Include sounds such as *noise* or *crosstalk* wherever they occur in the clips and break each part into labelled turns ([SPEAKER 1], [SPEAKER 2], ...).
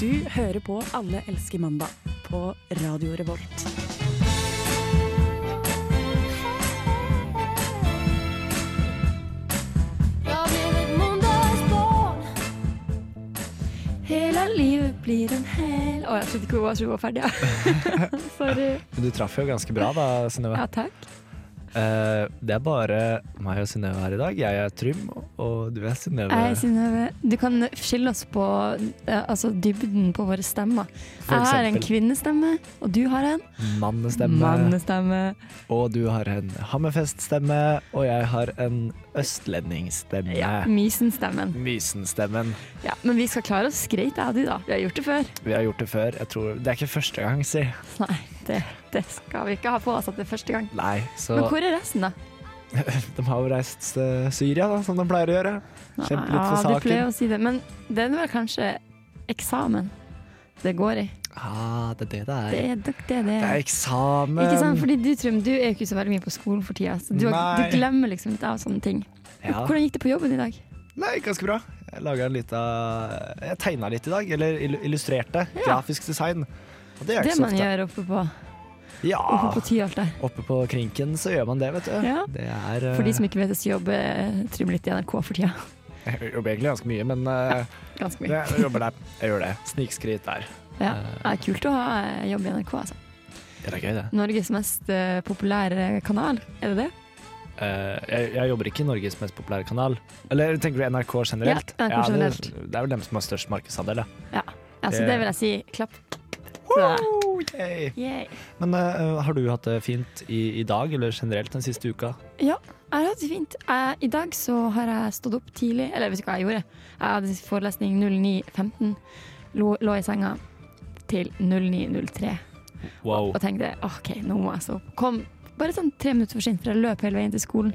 [SPEAKER 1] Du hører på Alle elsker mandag på Radio Revolt.
[SPEAKER 2] Jag blev ett måndagsbarn
[SPEAKER 3] Hele livet blir en hel Å, jeg trodde ikke hun var, så hun var ferdig. Ja. *laughs* Sorry.
[SPEAKER 4] Men du traff jo ganske bra da, Synnøve.
[SPEAKER 3] Ja, takk.
[SPEAKER 4] Eh, det er bare meg og Synnøve her i dag. Jeg er Trym, og du er Synnøve.
[SPEAKER 3] Jeg, Synnøve, du kan skille oss på eh, altså dybden på våre stemmer.
[SPEAKER 4] For
[SPEAKER 3] Jeg har en
[SPEAKER 4] eksempel.
[SPEAKER 3] kvinnestemme, og du har en
[SPEAKER 4] Mannestemme.
[SPEAKER 3] mannestemme.
[SPEAKER 4] Og du har en Hammerfest-stemme, og jeg har en østlendingsstemme.
[SPEAKER 3] Mysenstemmen.
[SPEAKER 4] Mysenstemmen.
[SPEAKER 3] Ja, men vi skal klare oss greit, jeg og du, da. Vi har gjort det før.
[SPEAKER 4] Vi har gjort det før. Jeg tror, det er ikke første gang, si.
[SPEAKER 3] Nei, det, det skal vi ikke ha på oss at det er første gang.
[SPEAKER 4] Nei, så
[SPEAKER 3] Men hvor er resten, da?
[SPEAKER 4] de har jo reist til Syria, da, som de pleier å gjøre. Kjempe litt for
[SPEAKER 3] Ja, du pleier
[SPEAKER 4] saken.
[SPEAKER 3] å si det. Men det er vel kanskje eksamen det går i.
[SPEAKER 4] Ah, det er det det er.
[SPEAKER 3] Det er nok det det
[SPEAKER 4] Det
[SPEAKER 3] er.
[SPEAKER 4] er eksamen!
[SPEAKER 3] Ikke sant? Fordi du, Trym, du er jo ikke så veldig mye på skolen for tida, så du, har,
[SPEAKER 4] Nei.
[SPEAKER 3] du glemmer liksom litt av sånne ting.
[SPEAKER 4] Ja.
[SPEAKER 3] Hvordan gikk det på jobben i dag?
[SPEAKER 4] Nei, ganske bra. Jeg laga en lita Jeg tegna litt i dag. Eller ill- illustrerte. Grafisk design. Og det gjør jeg
[SPEAKER 3] Det
[SPEAKER 4] ikke så
[SPEAKER 3] man
[SPEAKER 4] ofte.
[SPEAKER 3] gjør oppe på,
[SPEAKER 4] Ja.
[SPEAKER 3] oppe på Tyholt der.
[SPEAKER 4] Oppe på krinken så gjør man det, vet du.
[SPEAKER 3] Ja.
[SPEAKER 4] Det er
[SPEAKER 3] For de som ikke vet det, så jobber eh, Trym litt i NRK for tida.
[SPEAKER 4] Jeg jobber egentlig ganske mye, men eh,
[SPEAKER 3] *laughs* Ganske mye.
[SPEAKER 4] *laughs* jeg jobber der. Jeg gjør det. Snikskryt der.
[SPEAKER 3] Ja. Det er kult å ha eh, jobb i NRK, altså.
[SPEAKER 4] Det er gøy, det.
[SPEAKER 3] Norges mest eh, populære kanal, er det det?
[SPEAKER 4] Eh, jeg, jeg jobber ikke i Norges mest populære kanal. Eller tenker du NRK generelt?
[SPEAKER 3] Ja, NRK generelt.
[SPEAKER 4] det, det er vel dem som har størst markedsandel, ja.
[SPEAKER 3] Ja. Altså,
[SPEAKER 4] Det-
[SPEAKER 3] det vil jeg si. Klapp. for deg.
[SPEAKER 4] Woo, yay.
[SPEAKER 3] Yay.
[SPEAKER 4] Men eh, har du hatt det fint i, i dag, eller generelt den siste uka?
[SPEAKER 3] Ja, jeg har hatt det fint. Jeg, I dag så har jeg stått opp tidlig. Eller vet du hva jeg gjorde? Jeg hadde forelesning 09.15. Lå, lå i senga til 09.03
[SPEAKER 4] Wow.
[SPEAKER 3] og tenkte OK, nå må jeg stå opp. Kom bare sånn tre minutter for sent, for jeg løp hele veien til skolen.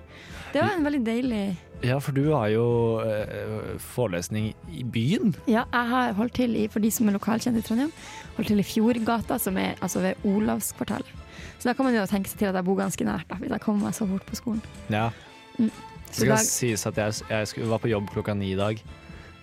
[SPEAKER 3] Det var en veldig deilig
[SPEAKER 4] Ja, for du har jo eh, forelesning i byen.
[SPEAKER 3] Ja, jeg har holdt til i, for de som er lokalkjent i Trondheim, holdt til i Fjordgata, som er altså ved Olavskvartalet. Så da kan man jo tenke seg til at jeg bor ganske nært, da, hvis jeg kommer meg så fort på skolen.
[SPEAKER 4] Ja.
[SPEAKER 3] Mm.
[SPEAKER 4] Det
[SPEAKER 3] Så
[SPEAKER 4] skal
[SPEAKER 3] dag-
[SPEAKER 4] sies at jeg, jeg skulle, var på jobb klokka ni i dag.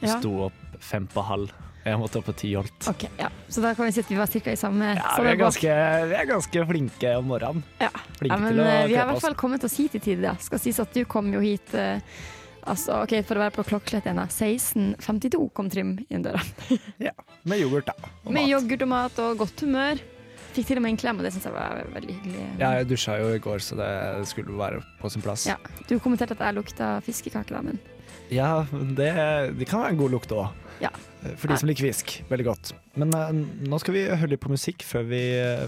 [SPEAKER 3] Ja.
[SPEAKER 4] Sto opp fem på halv. Jeg måtte opp på ti holdt.
[SPEAKER 3] Ok, ja. Så da kan vi si at vi var ca. i samme
[SPEAKER 4] Ja, vi
[SPEAKER 3] samme
[SPEAKER 4] er, ganske, vi er ganske flinke om morgenen.
[SPEAKER 3] Ja.
[SPEAKER 4] Flinke
[SPEAKER 3] Ja, men
[SPEAKER 4] til å
[SPEAKER 3] eh, vi har i
[SPEAKER 4] kle
[SPEAKER 3] hvert
[SPEAKER 4] oss.
[SPEAKER 3] fall kommet oss hit i tide. Da. Skal sies at du kom jo hit eh, altså, ok, For å være på klokkeslett igjen, da. 16.52 kom Trym inn døra.
[SPEAKER 4] Ja. Med yoghurt, da. og
[SPEAKER 3] Med
[SPEAKER 4] mat.
[SPEAKER 3] yoghurt og mat og godt humør. Fikk til og med en klem, og det syns jeg var veldig hyggelig.
[SPEAKER 4] Ja, jeg dusja jo i går, så det skulle være på sin plass.
[SPEAKER 3] Ja. Du kommenterte at jeg lukta fiskekake, da, men
[SPEAKER 4] Ja, men det, det kan være en god lukt òg.
[SPEAKER 3] Ja.
[SPEAKER 4] For de som liker fisk. Veldig godt. Men eh, nå skal vi høre litt på musikk før vi,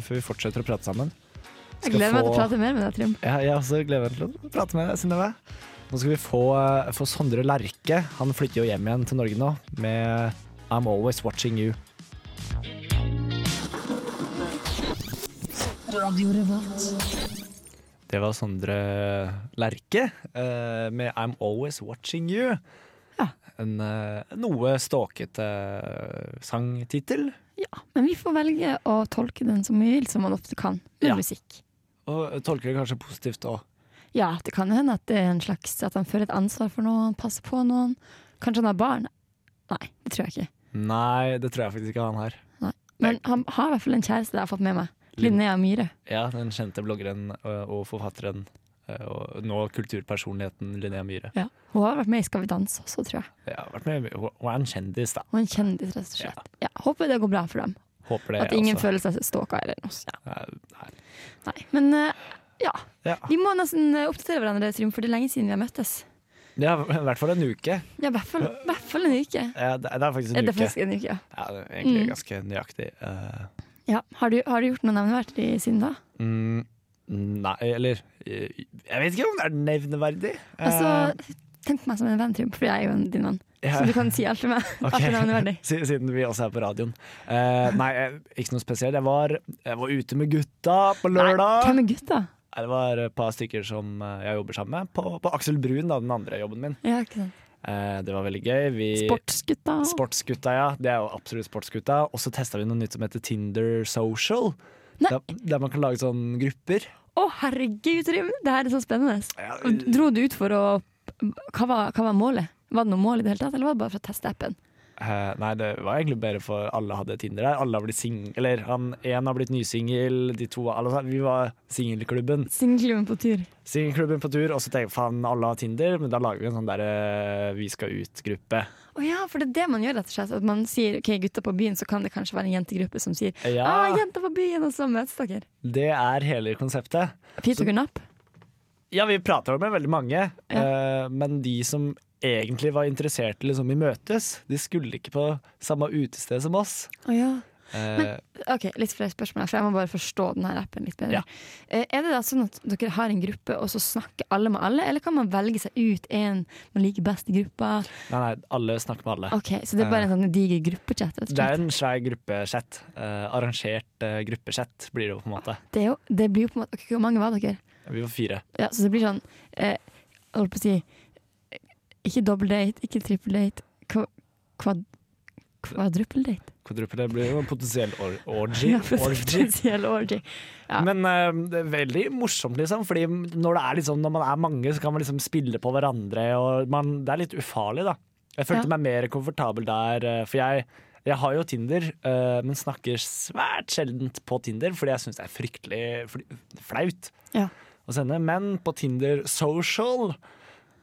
[SPEAKER 4] før vi fortsetter å prate sammen.
[SPEAKER 3] jeg
[SPEAKER 4] Skal
[SPEAKER 3] gleder meg til å
[SPEAKER 4] få-
[SPEAKER 3] prate mer med deg, Trym.
[SPEAKER 4] Ja, jeg også gleder meg til å prate med deg, Synnøve. Nå skal vi få, eh, få Sondre Lerche. Han flytter jo hjem igjen til Norge nå med I'm Always Watching You. Det var Sondre Lerche eh, med I'm Always Watching You.
[SPEAKER 3] Ja.
[SPEAKER 4] En eh, noe ståkete eh, sangtittel.
[SPEAKER 3] Ja, men vi får velge å tolke den som vi vil, som man ofte kan med
[SPEAKER 4] Ja.
[SPEAKER 3] musikk.
[SPEAKER 4] Og tolker det kanskje positivt òg.
[SPEAKER 3] Ja, det kan jo hende at det er en slags At han føler et ansvar for noen, passer på noen. Kanskje han har barn? Nei, det tror jeg ikke.
[SPEAKER 4] Nei, det tror jeg faktisk ikke han har.
[SPEAKER 3] Men han har i hvert fall en kjæreste jeg har fått med meg. Linnea Myhre.
[SPEAKER 4] Ja, den kjente bloggeren ø, og forfatteren ø, og nå kulturpersonligheten Linnea Myhre.
[SPEAKER 3] Hun har vært med i Skal vi danse også, tror jeg.
[SPEAKER 4] Ja, har vært med, hun hun er en kjendis, da.
[SPEAKER 3] Og en kjendis, rett og slett. Ja. håper det går bra for dem.
[SPEAKER 4] Håper det.
[SPEAKER 3] At ingen
[SPEAKER 4] altså.
[SPEAKER 3] føler seg stalka eller noe. sånt.
[SPEAKER 4] Nei.
[SPEAKER 3] Nei. Men eh, ja.
[SPEAKER 4] Ja.
[SPEAKER 3] Vi må nesten eh, oppdatere hverandre, Trym, for det er lenge siden vi har møttes.
[SPEAKER 4] Det er i hvert fall en uke.
[SPEAKER 3] Ja, i hvert fall, i hvert fall en uke.
[SPEAKER 4] Ja, det, er- det er faktisk
[SPEAKER 3] Er
[SPEAKER 4] en
[SPEAKER 3] det
[SPEAKER 4] uke.
[SPEAKER 3] faktisk en uke, ja.
[SPEAKER 4] Ja, det er egentlig
[SPEAKER 3] Mm.
[SPEAKER 4] ganske nøyaktig. eh,
[SPEAKER 3] ja. Har, du, har du gjort noe nevneverdig siden da?
[SPEAKER 4] mm, nei, eller eh, Jeg vet ikke om det er nevneverdig. Eh,
[SPEAKER 3] Altså, tenk på meg som en venn, Trym, for jeg er jo en- din venn.
[SPEAKER 4] ja.
[SPEAKER 3] Så du kan si alt til meg.
[SPEAKER 4] *laughs* Ok.
[SPEAKER 3] Alt er nevneverdig.
[SPEAKER 4] *laughs* Si- Siden vi også er på radioen. Eh, nei, eh, ikke noe spesielt. Jeg var, jeg var ute med gutta på
[SPEAKER 3] Nei,
[SPEAKER 4] lørdag.
[SPEAKER 3] Hvem er gutta?
[SPEAKER 4] Nei, Det var et par stykker som eh, jeg jobber sammen med. På, på Aksel Brun, da, den andre jobben min.
[SPEAKER 3] Ja, ikke sant.
[SPEAKER 4] Eh, Det var veldig gøy. Vi,
[SPEAKER 3] Sportsgutta.
[SPEAKER 4] sportsgutta, ja. Det er jo absolutt sportsgutta. Og så testa vi noe nytt som heter Tinder Social.
[SPEAKER 3] Nei.
[SPEAKER 4] Der, der man kan lage sånne grupper.
[SPEAKER 3] Å, herregud, Trym! Det her er så spennende.
[SPEAKER 4] Ja,
[SPEAKER 3] Og Dro du ut for å Hva var, hva var målet? Var det noe mål i det hele tatt, eller var det bare for å teste appen?
[SPEAKER 4] Eh, nei, det var egentlig bedre for alle hadde Tinder her. Alle har blitt sing... Eller han én har blitt nysingel, de to alle, Vi var singelklubben.
[SPEAKER 3] Singelklubben på tur.
[SPEAKER 4] Singelklubben på tur, og så tenkte jeg faen, alle har Tinder, men da lager vi en sånn der eh, vi skal ut-gruppe.
[SPEAKER 3] Å ja, for det er det man gjør, rett og slett. At man sier ok, gutta på byen, så kan det kanskje være en jentegruppe som sier
[SPEAKER 4] Ja,
[SPEAKER 3] ah, jenter på byen, og så møtes dere.
[SPEAKER 4] det er hele konseptet.
[SPEAKER 3] Pete og Gunnap.
[SPEAKER 4] Ja, vi prater med veldig mange, eh, men de som egentlig var interessert liksom, i møtes, de skulle ikke på samme utested som oss.
[SPEAKER 3] Å ja.
[SPEAKER 4] Eh,
[SPEAKER 3] Ok, Litt flere spørsmål, her, for jeg må bare forstå denne appen litt bedre.
[SPEAKER 4] Ja.
[SPEAKER 3] Eh, Er det da sånn at dere har en gruppe, og så snakker alle med alle, eller kan man velge seg ut en man liker best i gruppa?
[SPEAKER 4] nei, nei, alle snakker med alle.
[SPEAKER 3] Ok, Så
[SPEAKER 4] Eh.
[SPEAKER 3] det er bare en sånn diger gruppechat? rett og
[SPEAKER 4] Det er
[SPEAKER 3] slett.
[SPEAKER 4] en svær gruppechat. Eh, arrangert eh, gruppechat blir det jo på en måte.
[SPEAKER 3] Det, er jo, det blir jo på en måte ok, Hvor mange var dere?
[SPEAKER 4] Vi var fire.
[SPEAKER 3] Ja, Så det blir sånn eh, Jeg holdt på å si eh, Ikke double date, ikke triple date, kva, kvad, kvadruple date.
[SPEAKER 4] Kvadruple det blir jo en potensiell or orgy.
[SPEAKER 3] Ja, *laughs* for å si
[SPEAKER 4] orgy.
[SPEAKER 3] potensiell orgy. Ja.
[SPEAKER 4] Men eh, det er veldig morsomt, liksom. Fordi når, det er liksom, når man er mange, så kan man liksom spille på hverandre. Og man, det er litt ufarlig, da. Jeg følte
[SPEAKER 3] Ja.
[SPEAKER 4] meg mer komfortabel der, eh, for jeg, jeg har jo Tinder, eh, men snakker svært sjeldent på Tinder, fordi jeg syns det er fryktelig fl- flaut
[SPEAKER 3] Ja.
[SPEAKER 4] å sende. Men på Tinder Social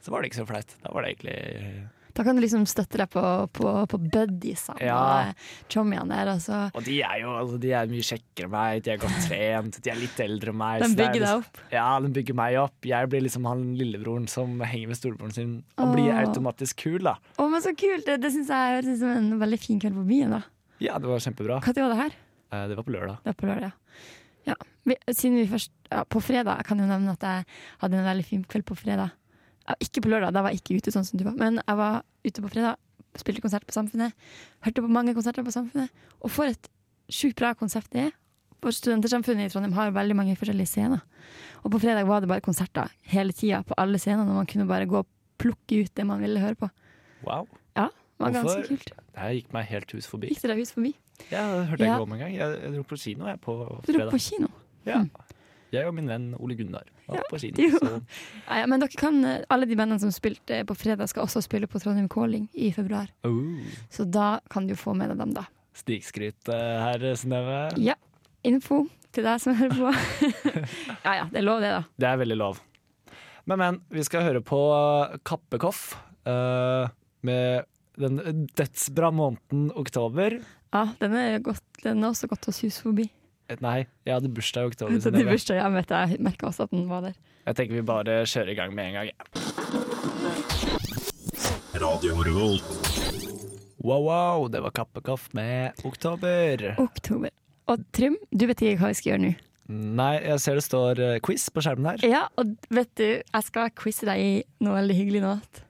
[SPEAKER 4] så var det ikke så flaut. Da var det egentlig
[SPEAKER 3] Da kan du liksom støtte deg på, på, på buddiesene
[SPEAKER 4] Ja.
[SPEAKER 3] og chommiene der. Og så
[SPEAKER 4] Og de er jo altså, de er mye kjekkere enn meg, de er godt trent, de er litt eldre enn meg.
[SPEAKER 3] Den
[SPEAKER 4] så det er
[SPEAKER 3] bygger deg
[SPEAKER 4] liksom-
[SPEAKER 3] opp.
[SPEAKER 4] Ja, den bygger meg opp. Jeg blir liksom han lillebroren som henger med storebroren sin. Han blir
[SPEAKER 3] Åh.
[SPEAKER 4] automatisk kul, da.
[SPEAKER 3] Å, men så kult! Det, det syns jeg høres ut som en veldig fin kveld på byen. da
[SPEAKER 4] Ja, det var kjempebra.
[SPEAKER 3] Når var det her?
[SPEAKER 4] Eh, Det var på lørdag.
[SPEAKER 3] Det er på lørdag. Ja. Vi, siden vi først ja, På fredag jeg kan jo nevne at jeg hadde en veldig fin kveld på fredag. Ja, ikke på lørdag, da var jeg ikke ute sånn som du var. Men jeg var ute på fredag, spilte konsert på Samfunnet. Hørte på mange konserter på Samfunnet. Og for et sjukt bra konsept det er. For Studentersamfunnet i Trondheim har jo veldig mange forskjellige scener. Og på fredag var det bare konserter hele tida på alle scenene, og man kunne bare gå og plukke ut det man ville høre på.
[SPEAKER 4] Wow.
[SPEAKER 3] Ja, det var ganske
[SPEAKER 4] Hvorfor?
[SPEAKER 3] kult.
[SPEAKER 4] Det her gikk meg helt hus forbi.
[SPEAKER 3] Gikk dere hus forbi?
[SPEAKER 4] Ja, det hørte jeg
[SPEAKER 3] Ja.
[SPEAKER 4] ikke om engang. Jeg, jeg dro på kino jeg på
[SPEAKER 3] Dro
[SPEAKER 4] fredag.
[SPEAKER 3] på kino.
[SPEAKER 4] Ja. Jeg og min venn Ole Gunnar var på
[SPEAKER 3] *laughs*
[SPEAKER 4] kino.
[SPEAKER 3] jo.
[SPEAKER 4] Så
[SPEAKER 3] Nei, ja, men dere kan, eh, alle de bandene som spilte eh, på fredag, skal også spille på Trondheim Calling i februar.
[SPEAKER 4] oh,
[SPEAKER 3] Så da kan du få med deg dem, da.
[SPEAKER 4] snikskryt eh, her, Synnøve.
[SPEAKER 3] Ja. Info til deg som hører på. *laughs* ja ja, det er lov, det, da.
[SPEAKER 4] Det er veldig lov. Men, men, vi skal høre på Kappekoff eh, med den dødsbra måneden oktober.
[SPEAKER 3] Ja, den er, godt, den er også godt hos hus forbi.
[SPEAKER 4] Eh, Nei, jeg hadde bursdag i oktober.
[SPEAKER 3] Så det
[SPEAKER 4] Synnøve.
[SPEAKER 3] bursdag, jeg vet jeg merka også at den var der.
[SPEAKER 4] Jeg tenker vi bare kjører i gang med en gang. ja.
[SPEAKER 5] Radio Revolt.
[SPEAKER 4] Wow, wow, det var Kappekoff med oktober.
[SPEAKER 3] Oktober. Og Trym, du vet ikke hva vi skal gjøre nå.
[SPEAKER 4] Nei, jeg ser det står eh, quiz på skjermen her.
[SPEAKER 3] Ja, og vet du, jeg skal quize deg i noe veldig hyggelig nå.
[SPEAKER 4] No,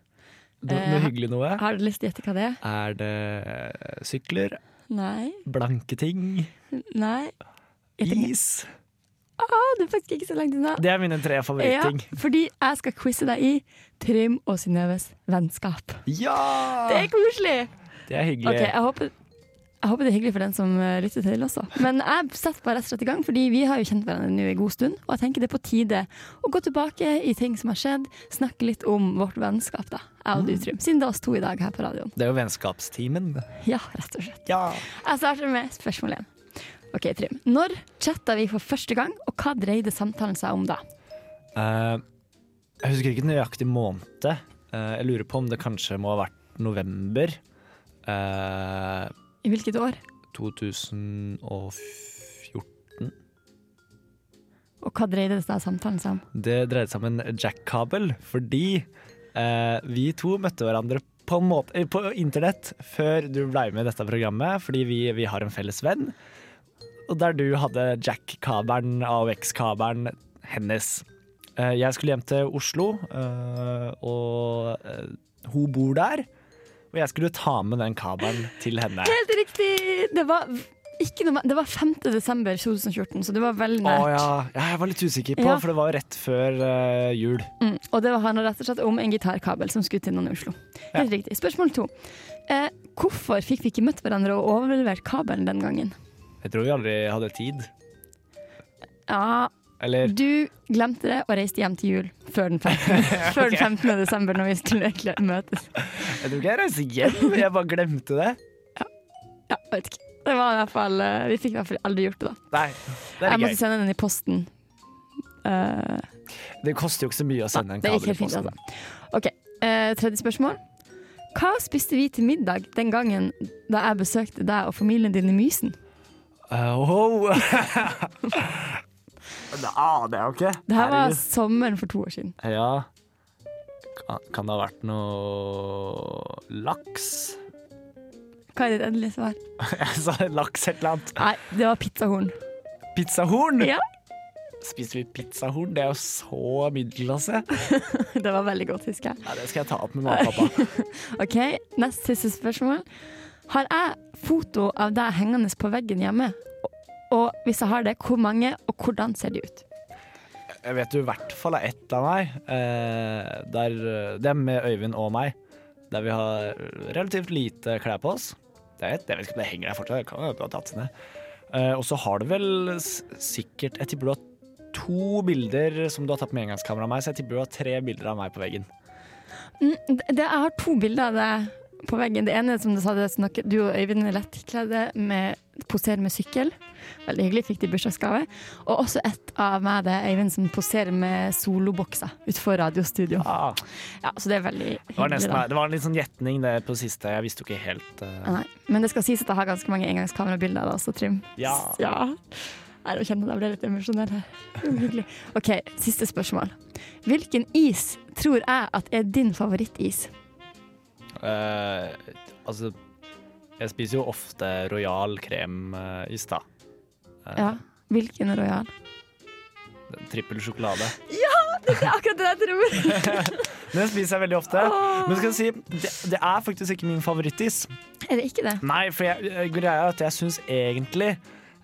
[SPEAKER 3] Eh,
[SPEAKER 4] noe hyggelig noe.
[SPEAKER 3] Har du lyst til å gjette hva det er?
[SPEAKER 4] Er det eh, sykler,
[SPEAKER 3] Nei.
[SPEAKER 4] blanke ting,
[SPEAKER 3] Nei. Jeg tenker-
[SPEAKER 4] is?
[SPEAKER 3] Å, det er faktisk ikke så langt unna.
[SPEAKER 4] Det er mine tre
[SPEAKER 3] Ja,
[SPEAKER 4] favorittting.
[SPEAKER 3] fordi jeg skal quize deg i Trym og Synnøves vennskap.
[SPEAKER 4] Ja!
[SPEAKER 3] Det er koselig!
[SPEAKER 4] Det er hyggelig.
[SPEAKER 3] Ok, jeg håper, jeg håper det er hyggelig for den som eh, lytter til også. Men jeg setter bare rett og slett i gang, fordi vi har jo kjent hverandre nå en god stund. Og jeg tenker det er på tide å gå tilbake i ting som har skjedd, snakke litt om vårt vennskap, da. Jeg og du, Trym. Siden det er oss to i dag her på radioen.
[SPEAKER 4] Det er jo vennskapstimen.
[SPEAKER 3] Ja, rett og slett.
[SPEAKER 4] Ja.
[SPEAKER 3] Jeg starter med spørsmål én. Ok, Trym. Når chatta vi for første gang, og hva dreide samtalen seg om da?
[SPEAKER 4] Eh, jeg husker ikke nøyaktig måned. Eh, jeg lurer på om det kanskje må ha vært november eh,
[SPEAKER 3] I hvilket år?
[SPEAKER 4] 2014.
[SPEAKER 3] Og hva dreide det seg samtalen seg om?
[SPEAKER 4] Det dreide seg om en jackkabel, fordi eh, vi to møtte hverandre på, en måte, eh, på internett før du ble med i dette programmet, fordi vi, vi har en felles venn. Og der du hadde jack-kabelen, AOX-kabelen hennes. Eh, jeg skulle hjem til Oslo, eh, og eh, hun bor der. Og jeg skulle ta med den kabelen til henne.
[SPEAKER 3] Helt riktig! Det var, ikke noe, det var 5. desember 2014, så det var veldig
[SPEAKER 4] Å
[SPEAKER 3] nært.
[SPEAKER 4] ja. ja, jeg var litt usikker på,
[SPEAKER 3] Ja.
[SPEAKER 4] for det var jo rett før eh, jul.
[SPEAKER 3] mm, og det handla rett og slett om en gitarkabel som skulle til noen i Oslo. Helt riktig. Spørsmål to. Eh, hvorfor fikk vi ikke møtt hverandre og overlevert kabelen den gangen?
[SPEAKER 4] Jeg tror vi aldri hadde tid.
[SPEAKER 3] Ja,
[SPEAKER 4] Eller
[SPEAKER 3] Du glemte det og reiste hjem til jul før den 15.
[SPEAKER 4] *laughs*
[SPEAKER 3] Før den 15. desember, når vi skulle egentlig møtes.
[SPEAKER 4] Jeg tror ikke jeg reiser hjem, jeg bare glemte det.
[SPEAKER 3] Ja, jeg vet ikke. Det var i hvert fall, eh, vi fikk i hvert fall aldri gjort det, da.
[SPEAKER 4] Nei, det er
[SPEAKER 3] Jeg
[SPEAKER 4] litt
[SPEAKER 3] måtte
[SPEAKER 4] gøy.
[SPEAKER 3] sende den i posten. Eh,
[SPEAKER 4] Det koster jo ikke så mye å sende en
[SPEAKER 3] det gikk
[SPEAKER 4] kabel i
[SPEAKER 3] helt fint,
[SPEAKER 4] posten.
[SPEAKER 3] altså. OK, eh, tredje spørsmål. Hva spiste vi til middag den gangen da jeg besøkte deg og familien din i Mysen?
[SPEAKER 4] Eh, wow. *laughs* det aner jeg jo ikke.
[SPEAKER 3] Det her var
[SPEAKER 4] Herregud.
[SPEAKER 3] sommeren for to år siden.
[SPEAKER 4] Ja kan, kan det ha vært noe laks? *laughs*
[SPEAKER 3] Hva er ditt endelige svar?
[SPEAKER 4] Jeg sa laks et eller annet.
[SPEAKER 3] Nei, det var pizzahorn.
[SPEAKER 4] Pizzahorn!
[SPEAKER 3] *laughs* Ja.
[SPEAKER 4] Spiser vi pizzahorn? Det er jo så middelklasse.
[SPEAKER 3] Det var veldig godt, husker jeg.
[SPEAKER 4] Ja, det skal jeg ta opp med mamma og pappa.
[SPEAKER 3] Ok, Nest siste spørsmål. Har jeg foto av deg hengende på veggen hjemme? Og hvis jeg har det, hvor mange, og hvordan ser de ut?
[SPEAKER 4] Jeg vet du i hvert fall er ett av meg. Eh, der, eh, det er med Øyvind og meg. Der vi har relativt lite klær på oss. Det er ett. Jeg vet ikke om det henger der fortsatt. Det kan jo ha tatt seg ned. Eh, og så har du vel s- sikkert Jeg tipper du har to bilder som du har tatt med engangskamera av meg, så jeg tipper du har tre bilder av meg på veggen.
[SPEAKER 3] Mm, det, jeg har to bilder av deg på veggen. Det ene som du sa, det er sånn at du og Øyvind er lettkledde, med, poserer med sykkel. Veldig hyggelig, fikk de bursdagsgave. Og også et av meg, det er Øyvind som poserer med solobokser utenfor radiostudio.
[SPEAKER 4] Ah,
[SPEAKER 3] Ja, så det er veldig
[SPEAKER 4] det, var
[SPEAKER 3] hyggelig.
[SPEAKER 4] nesten,
[SPEAKER 3] Da.
[SPEAKER 4] det var en litt sånn gjetning det på siste. Jeg visste jo ikke helt eh,
[SPEAKER 3] Nei. Men det skal sies at jeg har ganske mange engangskamerabilder av deg også, Trym.
[SPEAKER 4] Ja.
[SPEAKER 3] Nei, Jeg kjenner at jeg ble litt emosjonell her. Det var Hyggelig. OK, siste spørsmål. Hvilken is tror jeg at er din favorittis?
[SPEAKER 4] eh, Altså, jeg spiser jo ofte Royal kremis, da. Eh,
[SPEAKER 3] Ja. Hvilken Royal?
[SPEAKER 4] Trippel sjokolade.
[SPEAKER 3] Det er akkurat det jeg tror!
[SPEAKER 4] Den spiser jeg veldig ofte. Men skal jeg si, det, det er faktisk ikke min favorittis.
[SPEAKER 3] *laughs* Er det ikke det?
[SPEAKER 4] Nei, for jeg, eh, greia er at jeg syns egentlig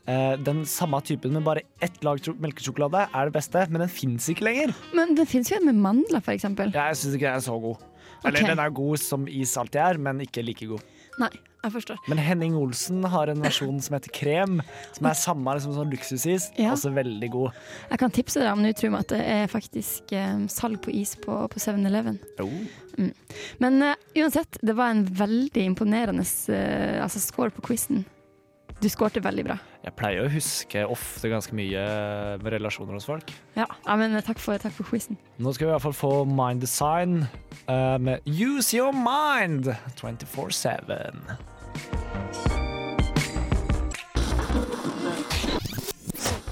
[SPEAKER 4] eh, den samme typen med bare ett lag sjo- melkesjokolade er det beste, men den fins ikke lenger.
[SPEAKER 3] Men det fins jo en med mandler, for eksempel.
[SPEAKER 4] Jeg syns ikke den er så god. Eller
[SPEAKER 3] Ok.
[SPEAKER 4] den er god som is alltid er, men ikke like god.
[SPEAKER 3] Nei, jeg forstår.
[SPEAKER 4] Men Henning Olsen har en versjon som heter krem, som er samme liksom, sånn luksusis,
[SPEAKER 3] Ja.
[SPEAKER 4] også veldig god.
[SPEAKER 3] Jeg kan tipse dere om nå, Trym, at det er faktisk eh, salg på is på, på 7-Eleven.
[SPEAKER 4] Oh.
[SPEAKER 3] Men eh, uansett, det var en veldig imponerende eh, altså score på quizen. Du skårte veldig bra.
[SPEAKER 4] Jeg pleier å huske ofte ganske mye eh, med relasjoner hos folk.
[SPEAKER 3] Ja, ja men eh, takk for, takk for quizen.
[SPEAKER 4] Nå skal vi i hvert fall få Mind Design eh, med Use Your Mind 24-7.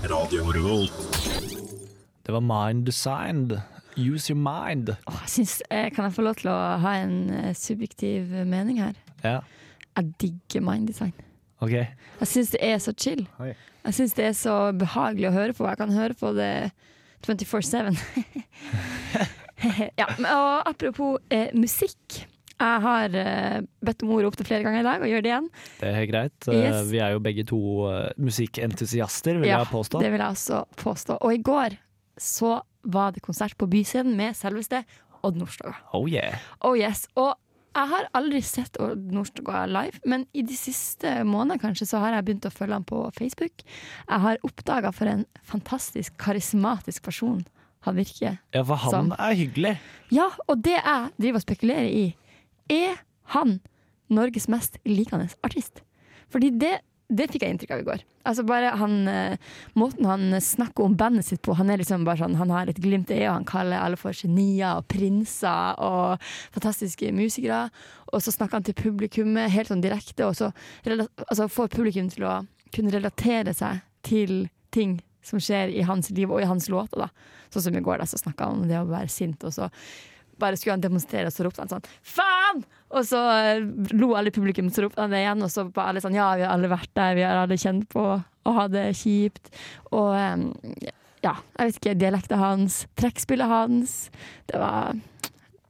[SPEAKER 5] Radio Revolt.
[SPEAKER 4] Det var Mind Design. Use Your Mind.
[SPEAKER 3] Åh, jeg syns, eh, kan jeg få lov til å ha en eh, subjektiv mening her?
[SPEAKER 4] Ja,
[SPEAKER 3] Jeg digger minddesign.
[SPEAKER 4] ok.
[SPEAKER 3] Jeg syns det er så chill.
[SPEAKER 4] Oi.
[SPEAKER 3] Jeg syns det er så behagelig å høre på. Jeg kan høre på det 24-7. *laughs* ja, men- og apropos eh, musikk. Jeg har eh, bedt om ordet opptil flere ganger i dag, og gjør det igjen.
[SPEAKER 4] Det er greit.
[SPEAKER 3] Yes.
[SPEAKER 4] Eh, Vi er jo begge to eh, musikkentusiaster, vil
[SPEAKER 3] Ja,
[SPEAKER 4] jeg påstå.
[SPEAKER 3] Det vil jeg også påstå. Og i går så var det konsert på Byscenen med selveste Odd Nordstoga.
[SPEAKER 4] Oh yeah.
[SPEAKER 3] Oh yes. Og jeg har aldri sett Odd Nordstoga live, men i de siste månedene kanskje så har jeg begynt å følge han på Facebook. Jeg har oppdaga for en fantastisk karismatisk person han virker.
[SPEAKER 4] Ja, for han
[SPEAKER 3] Sånn.
[SPEAKER 4] er hyggelig.
[SPEAKER 3] Ja, og det jeg driver og spekulerer i, er han Norges mest likende artist? Fordi det, det fikk jeg inntrykk av i går. Altså bare han, eh, Måten han snakker om bandet sitt på, han er liksom bare sånn, han har et glimt i øyet, og han kaller alle for genier og prinser og fantastiske musikere. Og så snakker han til publikummet helt sånn direkte, og så rela- altså får publikum til å kunne relatere seg til ting som skjer i hans liv og i hans låter. da. Sånn som i går, da, så snakka han om det å være sint, og så bare skulle han demonstrere, og så ropte han sånn 'faen!' Og så eh, lo alle i publikum, så ropte han det igjen, og så var alle sånn 'ja, vi har alle vært der, vi har alle kjent på å ha det kjipt', og eh, ja, jeg vet ikke, dialekten hans, trekkspillet hans, det var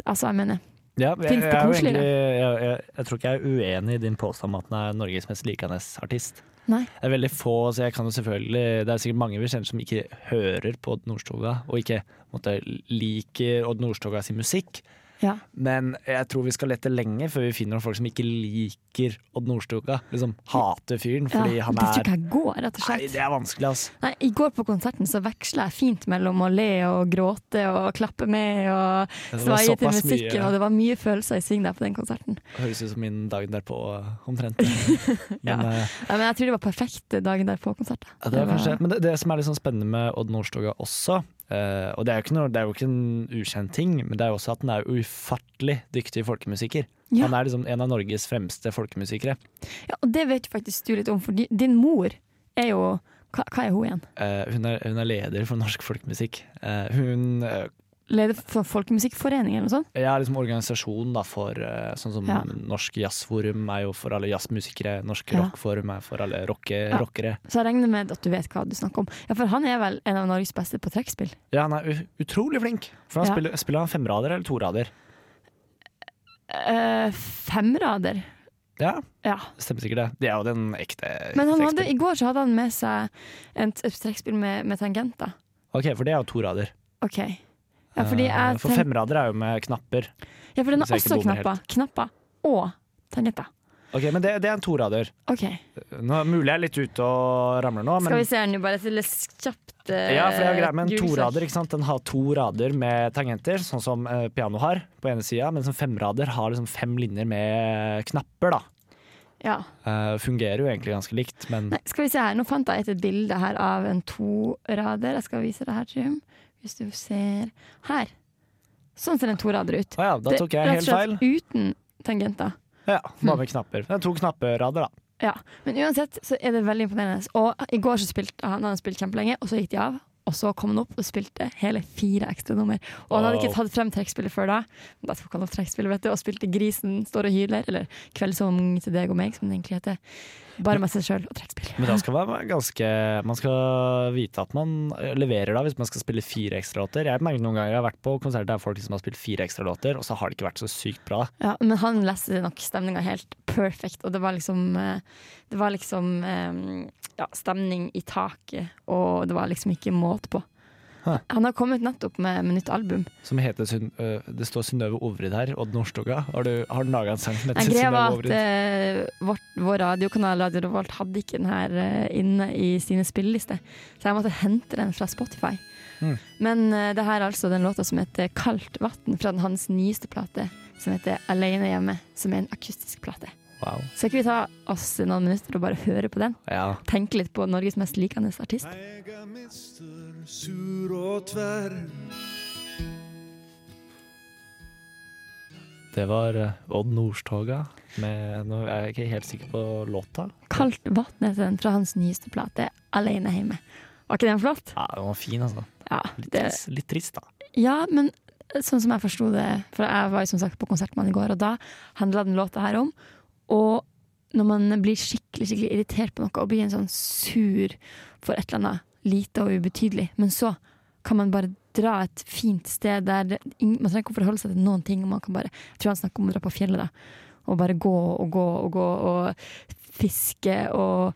[SPEAKER 3] Altså, jeg mener
[SPEAKER 4] Ja, jeg,
[SPEAKER 3] Finns det
[SPEAKER 4] jeg er jo
[SPEAKER 3] koseligere?
[SPEAKER 4] egentlig- Jeg, jeg, jeg tror ikke jeg er uenig i din påstand om at han er Norges mest likende artist.
[SPEAKER 3] Nei.
[SPEAKER 4] Det er veldig få, så jeg kan jo selvfølgelig Det er sikkert mange vi kjenner som ikke hører på Odd Nordstoga, og ikke på en måte, liker Odd Nordstoga sin musikk.
[SPEAKER 3] Ja.
[SPEAKER 4] Men jeg tror vi skal lete lenge før vi finner noen folk som ikke liker Odd Nordstoga. Liksom hater fyren fordi
[SPEAKER 3] ja.
[SPEAKER 4] han
[SPEAKER 3] Det tror
[SPEAKER 4] er
[SPEAKER 3] ikke jeg går, rett og
[SPEAKER 4] Nei,
[SPEAKER 3] slett.
[SPEAKER 4] det er vanskelig, altså.
[SPEAKER 3] Nei, I går på konserten så veksla jeg fint mellom å le og gråte og klappe med og
[SPEAKER 4] Det var
[SPEAKER 3] svaie til
[SPEAKER 4] såpass mye.
[SPEAKER 3] musikken, og det var mye følelser i sving der på den konserten.
[SPEAKER 4] Høres ut som min dagen derpå,
[SPEAKER 3] *laughs*
[SPEAKER 4] omtrent. Men,
[SPEAKER 3] Ja.
[SPEAKER 4] eh,
[SPEAKER 3] Ja, men jeg tror det var perfekt dagen der på konsert.
[SPEAKER 4] Ja, det er kanskje, men det, det som er litt sånn spennende med Odd Nordstoga også, eh, og det er, jo ikke noe, det er jo ikke en ukjent ting, men det er jo også at han er jo ufattelig dyktig folkemusiker.
[SPEAKER 3] Ja.
[SPEAKER 4] Han er liksom en av Norges fremste folkemusikere.
[SPEAKER 3] Ja, og det vet faktisk du litt om, for di- din mor er jo Hva, hva er hun igjen?
[SPEAKER 4] Eh, hun, er, hun er leder for norsk folkemusikk. Eh, hun eh,
[SPEAKER 3] Leder for Folkemusikkforeningen eller noe sånt?
[SPEAKER 4] Jeg er liksom organisasjonen da for eh, sånn som
[SPEAKER 3] Ja.
[SPEAKER 4] Norsk Jazzforum er jo for alle jazzmusikere, Norsk
[SPEAKER 3] Ja.
[SPEAKER 4] Rockforum er for alle rocke,
[SPEAKER 3] Ja.
[SPEAKER 4] rockere.
[SPEAKER 3] Så jeg regner med at du vet hva du snakker om. Ja, For han er vel en av Norges beste på trekkspill?
[SPEAKER 4] Ja, han er u- utrolig flink! For han
[SPEAKER 3] Ja.
[SPEAKER 4] spiller, spiller han femrader eller torader?
[SPEAKER 3] Eh, femrader.
[SPEAKER 4] Ja,
[SPEAKER 3] Ja.
[SPEAKER 4] stemmer sikkert det. Det er jo den ekte
[SPEAKER 3] Men han
[SPEAKER 4] ekte
[SPEAKER 3] hadde,
[SPEAKER 4] eksperten.
[SPEAKER 3] i går så hadde han med seg en t- et trekkspill med, med tangenter.
[SPEAKER 4] Ok, for det er jo torader.
[SPEAKER 3] OK. Ja, fordi
[SPEAKER 4] Eh,
[SPEAKER 3] jeg
[SPEAKER 4] For
[SPEAKER 3] tenk-
[SPEAKER 4] femrader er jo med knapper.
[SPEAKER 3] ja, for den
[SPEAKER 4] hvis
[SPEAKER 3] har
[SPEAKER 4] jeg
[SPEAKER 3] også
[SPEAKER 4] ikke bommer helt.
[SPEAKER 3] knapper. Knapper og tangenter.
[SPEAKER 4] Ok, Men det, det er en torader.
[SPEAKER 3] OK.
[SPEAKER 4] Nå, mulig jeg er litt ute og ramler nå, men
[SPEAKER 3] Skal vi se her nå, bare til et kjapt eh,
[SPEAKER 4] ja, for det er jo greia med en
[SPEAKER 3] Google-søk.
[SPEAKER 4] torader. ikke sant? Den har to rader med tangenter, sånn som eh, piano har på ene sida, mens en femrader har liksom fem linjer med knapper. da.
[SPEAKER 3] Ja.
[SPEAKER 4] Eh, fungerer jo egentlig ganske likt, men
[SPEAKER 3] Nei, skal vi se her. Nå fant jeg et bilde her av en torader. Jeg skal vise deg her, Trym. Hvis du ser Her. Sånn ser en torader ut.
[SPEAKER 4] Å ja, da
[SPEAKER 3] Det-
[SPEAKER 4] tok jeg
[SPEAKER 3] rett og
[SPEAKER 4] helt feil.
[SPEAKER 3] slett Uten tangenter.
[SPEAKER 4] Ja, Bare med knapper. Det er to knapperader, da.
[SPEAKER 3] Ja. Men uansett så er det veldig imponerende. Og i går så spilte han, han hadde spilt kjempelenge, og så gikk de av. Og så kom han opp og spilte hele fire ekstra nummer. Og han hadde
[SPEAKER 4] Wow.
[SPEAKER 3] ikke tatt frem trekkspillet før da. Men da tok han opp trekkspillet, vet du, og spilte 'Grisen står og hyler', eller 'Kveldssang til deg og meg', som det egentlig heter. Bare med seg sjøl og trekkspill.
[SPEAKER 4] Men da skal man være ganske Man skal vite at man eh, leverer da, hvis man skal spille fire ekstralåter. Jeg merker noen ganger jeg har vært på konserter der folk som har spilt fire ekstralåter, og så har det ikke vært så sykt bra.
[SPEAKER 3] Ja, men han leste nok stemninga helt perfekt, og det var liksom eh, Det var liksom eh, ja, stemning i taket, og det var liksom ikke måte på.
[SPEAKER 4] Hæ.
[SPEAKER 3] Han har kommet nettopp med, med nytt album.
[SPEAKER 4] Som heter Syn øh, Det står Synnøve Ovrid her, Odd Nordstoga. Har du, har du laga en sang som heter
[SPEAKER 3] Jeg greia
[SPEAKER 4] Synnøve
[SPEAKER 3] var at
[SPEAKER 4] Ovrid?
[SPEAKER 3] eh, vårt, vår radiokanal Radio Revolt hadde ikke den her eh, inne i sine spillelister, så jeg måtte hente den fra Spotify.
[SPEAKER 4] Mm.
[SPEAKER 3] Men eh, det her er altså den låta som heter 'Kaldt vann', fra den hans nyeste plate, som heter 'Aleine hjemme', som er en akustisk plate.
[SPEAKER 4] Wow.
[SPEAKER 3] Skal ikke vi ta oss noen minutter og bare høre på den?
[SPEAKER 4] Ja.
[SPEAKER 3] Tenke litt på Norges mest likende artist?
[SPEAKER 5] Jeg er mister sur og tverr.
[SPEAKER 4] Det var øh, Odd Nordstoga med Nå er jeg ikke helt sikker på låta.
[SPEAKER 3] Kaldt vann heter den fra hans nyeste plate, 'Aleine hjemme'. Var ikke den flott?
[SPEAKER 4] Ja, den var fin, altså.
[SPEAKER 3] Ja,
[SPEAKER 4] Litt,
[SPEAKER 3] det,
[SPEAKER 4] trist- litt trist, da.
[SPEAKER 3] ja men sånn som jeg forsto det For jeg var jo som sagt på Konsertmann i går, og da handla den låta her om Og når man blir skikkelig skikkelig irritert på noe og blir en sånn sur for et eller annet lite og ubetydelig, men så kan man bare dra et fint sted der det, ing- Man trenger ikke å forholde seg til noen ting. og Man kan bare, jeg tror han snakker om å dra på fjellet. da Og bare gå og gå og gå og fiske og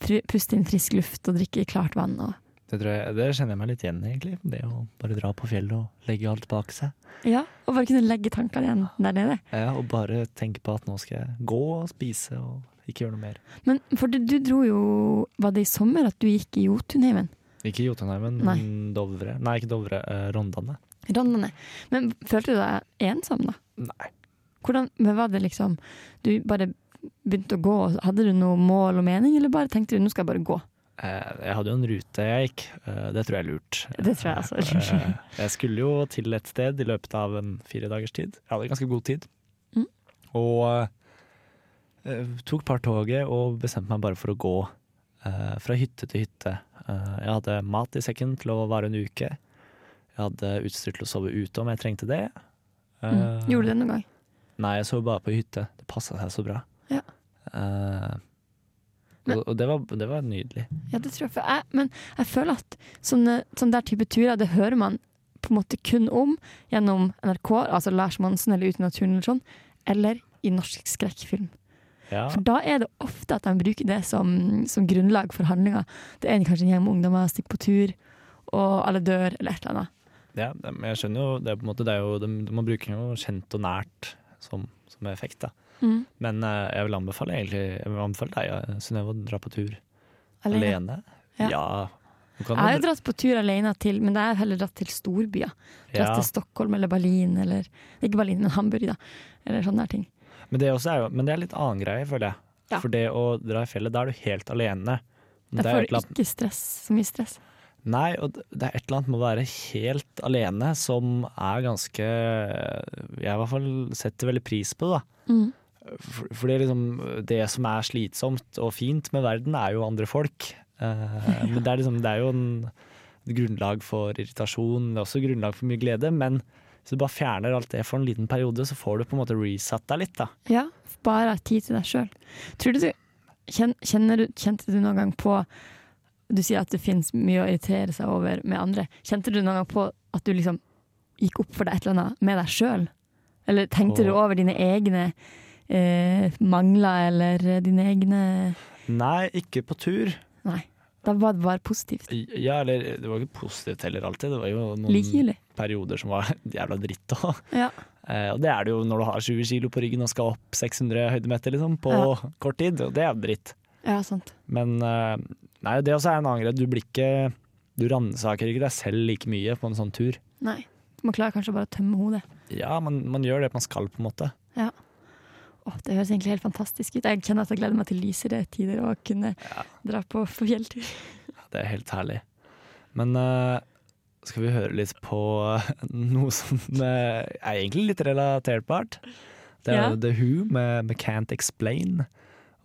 [SPEAKER 3] fri- puste inn frisk luft og drikke klart vann. Og,
[SPEAKER 4] Det, tror jeg, det kjenner jeg meg litt igjen i, egentlig. Det å bare dra på fjellet og legge alt bak seg.
[SPEAKER 3] ja, og bare kunne legge tankene igjen der nede.
[SPEAKER 4] Ja, og bare tenke på at nå skal jeg gå og spise og ikke gjøre noe mer.
[SPEAKER 3] Men for du, du dro jo Var det i sommer at du gikk i Jotunheimen?
[SPEAKER 4] Ikke Jotunheimen,
[SPEAKER 3] Nei.
[SPEAKER 4] men Dovre. Nei, ikke Dovre. eh, Rondane.
[SPEAKER 3] Rondane. Men følte du deg ensom, da?
[SPEAKER 4] Nei.
[SPEAKER 3] Hvordan, men var det liksom Du bare begynte å gå, og hadde du noe mål og mening, eller bare tenkte du nå skal jeg bare gå?
[SPEAKER 4] Eh, Jeg hadde jo en rute jeg gikk. Eh, Det tror jeg er lurt.
[SPEAKER 3] Det tror jeg altså er lurt.
[SPEAKER 4] Eh, Jeg skulle jo til et sted i løpet av en fire dagers tid. Jeg hadde ganske god tid.
[SPEAKER 3] Mm.
[SPEAKER 4] Og eh, tok par toget og bestemte meg bare for å gå eh, fra hytte til hytte. Eh, jeg hadde mat i sekken til å vare en uke. Jeg hadde utstyr til å sove ute om jeg trengte det.
[SPEAKER 3] *laughs* Mm. Gjorde du det noen gang?
[SPEAKER 4] Nei, jeg sov bare på hytte. Det passa seg så bra.
[SPEAKER 3] Ja.
[SPEAKER 4] Eh,
[SPEAKER 3] Men-
[SPEAKER 4] og og det, var, det var nydelig.
[SPEAKER 3] Ja, det tror jeg. For jeg men jeg føler at sånne, sånne der type turer, det hører man på en måte kun om gjennom NRK, altså Lars Monsen eller Ute i naturen eller sånn, eller i norsk skrekkfilm.
[SPEAKER 4] Ja.
[SPEAKER 3] For da er det ofte at de bruker det som, som grunnlag for handlinga. Det er kanskje en gjeng med ungdommer, stikker på tur, og alle dør, eller et eller annet.
[SPEAKER 4] Ja, det- men jeg skjønner jo det, er på en måte, det er jo, de, de- Man bruker jo kjent og nært som, som effekt, da.
[SPEAKER 3] Mm.
[SPEAKER 4] Men eh, jeg vil anbefale egentlig Jeg vil anbefale deg, eh, Synnøve, å dra på tur alene.
[SPEAKER 3] Ja.
[SPEAKER 4] Ja. Du kan
[SPEAKER 3] Jeg
[SPEAKER 4] jo
[SPEAKER 3] har jo
[SPEAKER 4] dra-
[SPEAKER 3] dratt på tur alene til, men jeg har jeg heller dratt til storbyer. Dratt
[SPEAKER 4] ja.
[SPEAKER 3] til Stockholm eller Berlin eller Ikke Berlin, men Hamburg, da. Eller sånne der ting.
[SPEAKER 4] Men det, også er jo, men det er litt annen greie, føler jeg.
[SPEAKER 3] Ja.
[SPEAKER 4] For det å dra i fjellet, da er du helt alene. Men
[SPEAKER 3] Der
[SPEAKER 4] det er jo
[SPEAKER 3] får
[SPEAKER 4] et eller
[SPEAKER 3] du
[SPEAKER 4] annet,
[SPEAKER 3] ikke stress, så mye stress.
[SPEAKER 4] nei, og det er et eller annet med å være helt alene som er ganske Jeg i hvert fall setter veldig pris på det, da.
[SPEAKER 3] Mm.
[SPEAKER 4] For, for det, er liksom, det som er slitsomt og fint med verden, er jo andre folk. *laughs* Eh, men det er, liksom, det er jo en et grunnlag for irritasjon, det er også grunnlag for mye glede. Men hvis du bare fjerner alt det for en liten periode, så får du på en måte resatt deg litt. da.
[SPEAKER 3] Ja, bare ha tid til deg sjøl. Tror du du kjen- kjenner, du- Kjente du noen gang på Du sier at det finnes mye å irritere seg over med andre. Kjente du noen gang på at du liksom gikk opp for deg et eller annet med deg sjøl? Eller tenkte du
[SPEAKER 4] Åh.
[SPEAKER 3] over dine egne eh, mangler eller dine egne
[SPEAKER 4] Nei, ikke på tur.
[SPEAKER 3] Nei. Da var det bare positivt.
[SPEAKER 4] Ja, eller det var ikke positivt heller alltid. Det var jo noen
[SPEAKER 3] Likegyldig.
[SPEAKER 4] perioder som var *laughs* jævla dritt òg.
[SPEAKER 3] Ja.
[SPEAKER 4] Eh, og det er det jo når du har 20 kilo på ryggen og skal opp 600 høydemeter liksom, på kort tid. Og det er jo dritt.
[SPEAKER 3] ja, sant.
[SPEAKER 4] Men eh, nei, det også er en annen greie. Du blir ikke Du ransaker ikke deg selv like mye på en sånn tur.
[SPEAKER 3] Nei. Man klarer kanskje bare å tømme hodet.
[SPEAKER 4] Ja, man, man gjør det man skal, på en måte.
[SPEAKER 3] Åh, det høres egentlig helt fantastisk ut. Jeg kjenner at jeg gleder meg til lysere tider og kunne dra på på fjelltur.
[SPEAKER 4] Det er helt herlig. Men eh, skal vi høre litt på *laughs* noe som eh, er egentlig litt relaterbart? Det er
[SPEAKER 3] Ja.
[SPEAKER 4] jo The Who med, med Can't Explain.